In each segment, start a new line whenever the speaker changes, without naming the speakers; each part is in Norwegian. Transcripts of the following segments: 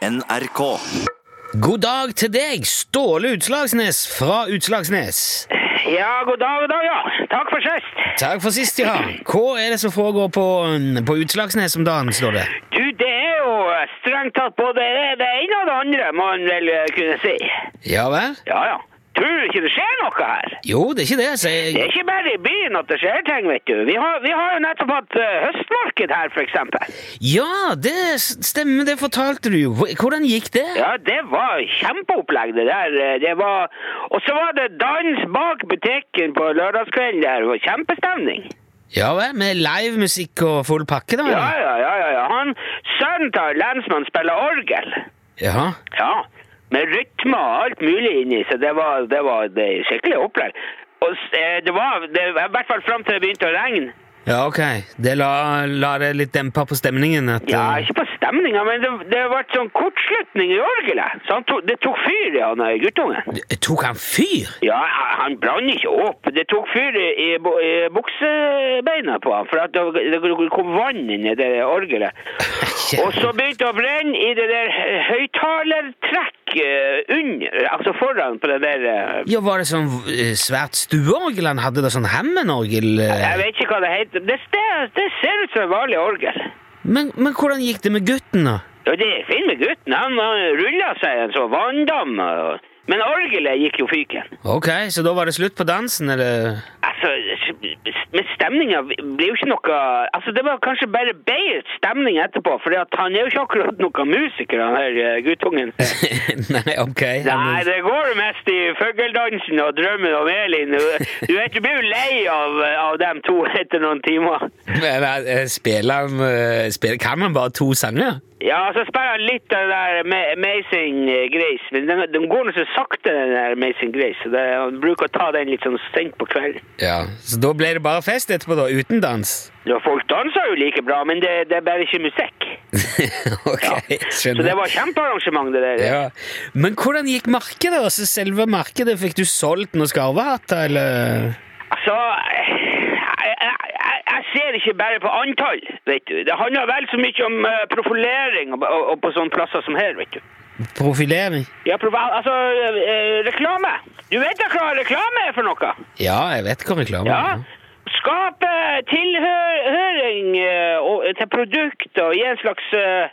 NRK.
God dag til deg, Ståle Utslagsnes fra Utslagsnes.
Ja, god dag, god dag, ja. Takk for sist.
Takk for sist, ja. Hva er det som foregår på, um, på Utslagsnes om dagen, Ståle?
Du, det er jo strengt tatt både det, det ene og det andre, man vil eh, kunne si.
Ja vel?
Ja, ja. Tror du ikke det skjer noe her?
Jo, det er ikke det, sier
Det er
jeg.
ikke bare i byen at det skjer ting, vet du. Vi har, vi har jo nettopp hatt eh, høstmarked her, for eksempel.
Ja, det s- stemmer, det fortalte du jo. Hvor- Hvordan gikk det?
Ja, det var kjempeopplegg, det der. Eh, Det var... Og så var det dans bak butikken på lørdagskvelden der. Det var kjempestemning.
Ja vel, med livemusikk og full pakke, da?
Ja,
eller?
ja, ja, ja. ja. Han, sønnen til lensmannen spiller orgel.
Jaha.
Ja, med rytme og alt mulig inni, så det var, det var det er skikkelig opplegg. Og s- eh, det var, det, var i hvert fall fram til det begynte å regne.
Ja, ok. Det la, la det litt dempa på stemningen? At,
Ja,
eh,
ikke på stemninga, men det, det ble sånn kortslutning i orgelet. Så han tok, det tok fyr i han eh, guttungen.
det- Tok han fyr?
Ja, han- han brann ikke opp. Det tok fyr i, i, bu- i buksebeina på han, for at det, det kom vann inn i det orgelet. Og så begynte det å brenne i det der eh, høyttalertrekk eh, under, altså foran på det der eh,
Ja, Var det sånn eh, svært stueorgel han hadde? da, Sånn Hammond-orgel? eh?
Jeg vet ikke hva det heter. Det, det, det ser ut som en vanlig orgel.
Men, men hvordan gikk det med gutten, da?
Ja, det er fint med gutten. Han, han rulla seg i en sånn vanndam. og- Men orgelet gikk jo fyken.
Ok, så da var det slutt på dansen, eller?
Altså, med stemninga blir jo ikke noe Altså, det var kanskje bare bedre stemning etterpå, for han er jo ikke akkurat noen musiker, han her eh, guttungen.
Nei, ok.
Nei, det går jo mest i fugledansen og drømmen om Elin. Du vet, du blir jo lei av, eh, av dem to etter noen timer.
Men, eh, Spiller han eh, spiller, Kan han bare to sanger?
Ja, så spiller han litt av det der Ma- Amazing eh, Grace, men den, den går nå så sakte, den der Amazing Grace, så det, han bruker å ta den litt sånn sent på kvelden.
Ja. Så da ble det bare fest etterpå, da? Uten dans?
Ja, folk danser jo like bra, men det, det er bare ikke musikk.
ok,
Ja. Så
skjønner.
det var kjempearrangement, det der.
ja. Men hvordan gikk markedet? altså Selve markedet, Fikk du solgt noen skarvehatter, eller?
Altså, jeg, jeg, jeg, jeg ser ikke bare på antall, vet du. Det handler vel så mye om eh, profilering og, og, og på sånne plasser som her, vet du.
Profilering?
Ja, profi- altså, eh, reklame. Du vet da hva reklame er for noe?
Ja, jeg vet hva reklame
Ja.
er.
Skape tilhøring eh, og- til produkter og gi en slags eh,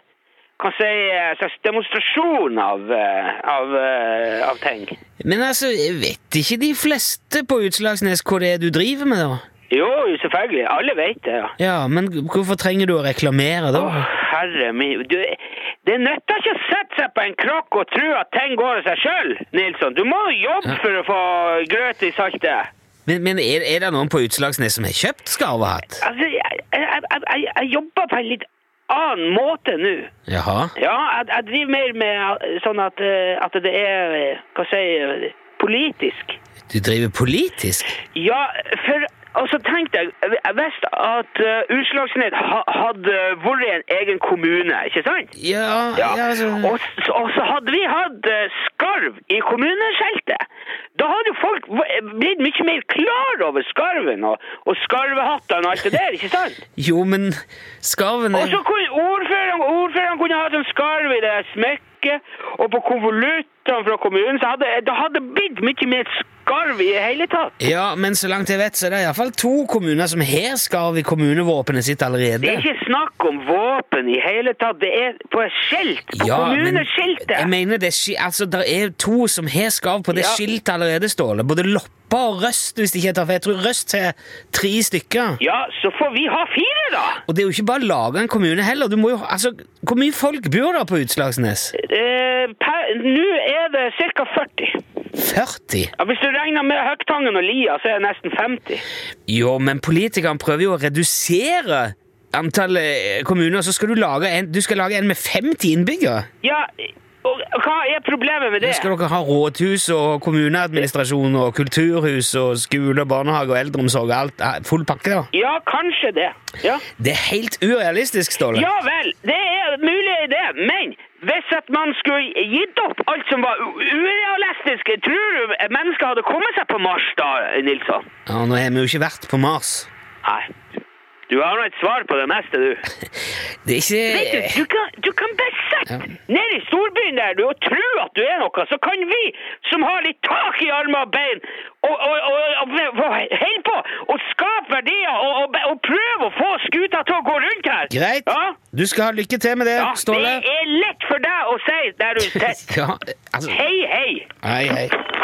kan si, eh, slags demonstrasjon av, eh, av, eh, av ting.
Men altså, vet ikke de fleste på Utslagsnes hva det er du driver med, da?
Jo, jo, selvfølgelig. Alle vet det. ja.
Ja, Men hvorfor trenger du å reklamere da?
Å, herre min du, Det nytter ikke å sette seg på en krakk og tro at ting går av seg sjøl, Nilsson. Du må jo jobbe for å få grøt i saltet.
Men, men er, er det noen på Utslagsnes som har kjøpt skarvehatt?
Altså, jeg, jeg, jeg, jeg, jeg jobber på en litt annen måte nå.
Jaha.
Ja, jeg, jeg driver mer med eh, sånn at, eh, at det er eh, Hva sier jeg eh, Politisk.
Du driver politisk?
Ja, for Og så tenkte jeg eh, Jeg visste at uh, Utslagsnett ha, hadde vært en egen kommune, ikke sant?
Ja, ja. altså,
Og, s- og så hadde vi hatt eh, skarv i kommuneskjeltet. Da hadde jo folk v- eh, blitt mye mer klar over skarven og, og skarvehattene og alt det der, ikke sant?
Jo, men skarven
Og
er
så kunne ordføreren, ordføreren kunne ha sånn skarv i det smykket, og på konvoluttene fra kommunen, så hadde det hadde blitt mye mer skarv i det hele tatt.
Ja, men så langt jeg vet, så er det iallfall to kommuner som har skarv i kommunevåpenet sitt
Det er
allerede.
ikke snakk om våpen i hele tatt, det er på et skilt, på kommuneskiltet.
jeg mener det er, ski- altså, det er to som har skarv på det
Ja.
skiltet allerede, Ståle. Både Loppa og Røst, hvis ikke jeg tar feil. Jeg tror Røst har tre stykker.
Ja, så får vi ha fire da!
Og det er jo ikke bare å lage en kommune heller. Du må jo, altså, hvor mye folk bor der på Utslagsnes?
Eh, per- Nå er det cirka 40.
40?
Ja, hvis du regner med Høgtangen og Lia, så er det nesten 50.
Jo, men politikerne prøver jo å redusere antallet eh, kommuner, så skal du lage en, du skal lage en med 50 innbyggere.
Ja, og hva er problemet med det?
Så skal dere ha rådhus og kommuneadministrasjon og kulturhus og skole, barnehage og eldreomsorg og alt. eh, Full pakke, da.
Ja, kanskje det. Ja.
Det er helt urealistisk, Ståle.
Ja vel, det er mulig det, men hvis at man skulle gitt opp alt som var u- urealistisk, tror du mennesker hadde kommet seg på Mars da, Nilsson?
Ja, nå har vi jo ikke vært på Mars.
Nei. Du har nå et svar på det meste, du.
Det er
Vet du,
ikke
du kan, du kan bare sant? Nede i storbyen der, du, og tro at du er noe, så kan vi som har litt tak i armer og bein, og, og, og, og, og holde på og skape verdier og, og, og prøve å få skuta til å gå rundt her.
Greit.
Ja?
Du skal ha lykke til med det,
Ja,
Ståle.
det er lett for deg å si der du sitter.
Ja, altså
Hei, hei.
Hei, hei.